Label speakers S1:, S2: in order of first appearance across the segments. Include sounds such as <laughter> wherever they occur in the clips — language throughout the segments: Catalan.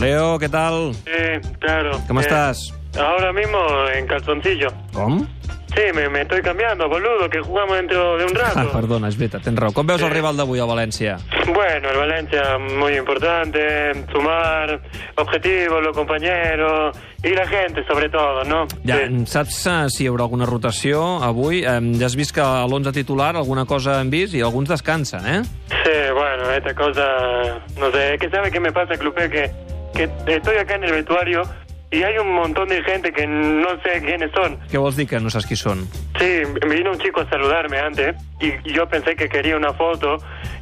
S1: Leo, ¿qué tal?
S2: Sí, claro.
S1: ¿Cómo
S2: Eh,
S1: estás?
S2: Ahora mismo en calzoncillo.
S1: Com?
S2: Sí, me, me estoy cambiando, boludo, que jugamos dentro
S1: <laughs>
S2: de un
S1: Ah,
S2: rato.
S1: perdona, és veritat, tens raó. Com veus el rival d'avui, el València?
S2: Bueno, el Valencia muy importante, sumar objetivos, los compañeros y la gente sobre todo, ¿no?
S1: Ja,
S2: Sí.
S1: saps eh, si hi haurà alguna rotació avui? Em, Ja has vist que a l'11 titular alguna cosa hem vist i alguns descansen, eh?
S2: Sí, bueno, esta cosa, no sé, es que sabe qué me pasa, Clupe, que, que estoy acá en el vestuario y hay un montón de gente que no sé quiénes son.
S1: Què vols dir que no saps qui són?
S2: Sí, vino un chico a saludarme antes y yo pensé que quería una foto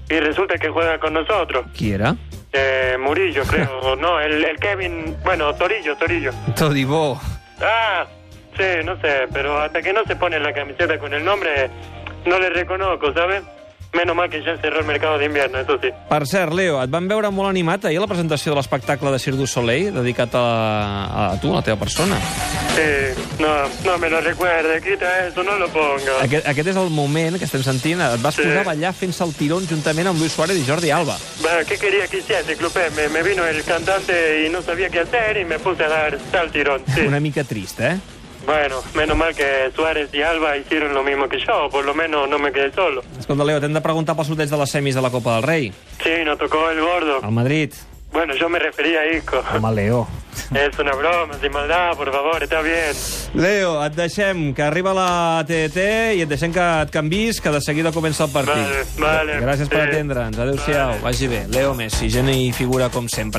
S2: y resulta que juega con nosotros.
S1: Qui era?
S2: Eh, Murillo, creo, o no, el, el Kevin, bueno, Torillo, Torillo.
S1: Todibó.
S2: Ah, sí, no sé, pero hasta que no se pone la camiseta con el nombre, no le reconozco, ¿sabes? Menos mal que ya cerró el mercado de invierno, eso sí.
S1: Per cert, Leo, et van veure molt animat ahir a la presentació de l'espectacle de Cirque du Soleil dedicat a, a tu, a la teva persona.
S2: Sí, no, no me lo recuerde, quita eso, no lo ponga.
S1: Aquest, aquest és el moment que estem sentint. Et vas
S2: Sí.
S1: posar a ballar fent-se el tirón juntament amb Luis Suárez i Jordi Alba.
S2: Bueno, ¿qué quería que hiciese, Clupé? Me, me vino el cantante y no sabía qué hacer y me puse a dar tal tirón, sí.
S1: Una mica trist, eh?
S2: Bueno, menos mal que Suárez y Alba hicieron lo mismo que yo, por lo menos no me quedé solo.
S1: Escolta, Leo, t'hem de preguntar pel sorteig de les semis de la Copa del Rei.
S2: Sí, nos tocó el gordo.
S1: Al Madrid.
S2: Bueno, yo me refería a Isco.
S1: Home, Leo.
S2: Es una broma, sin maldad, por favor, está bien.
S1: Leo, et deixem, que arriba la TDT i et deixem que et canvis, que de seguida comença el partit.
S2: Vale, vale.
S1: Gràcies per
S2: Sí.
S1: atendre'ns. Adéu-siau. Vagi bé. Leo Messi, geni i figura com sempre.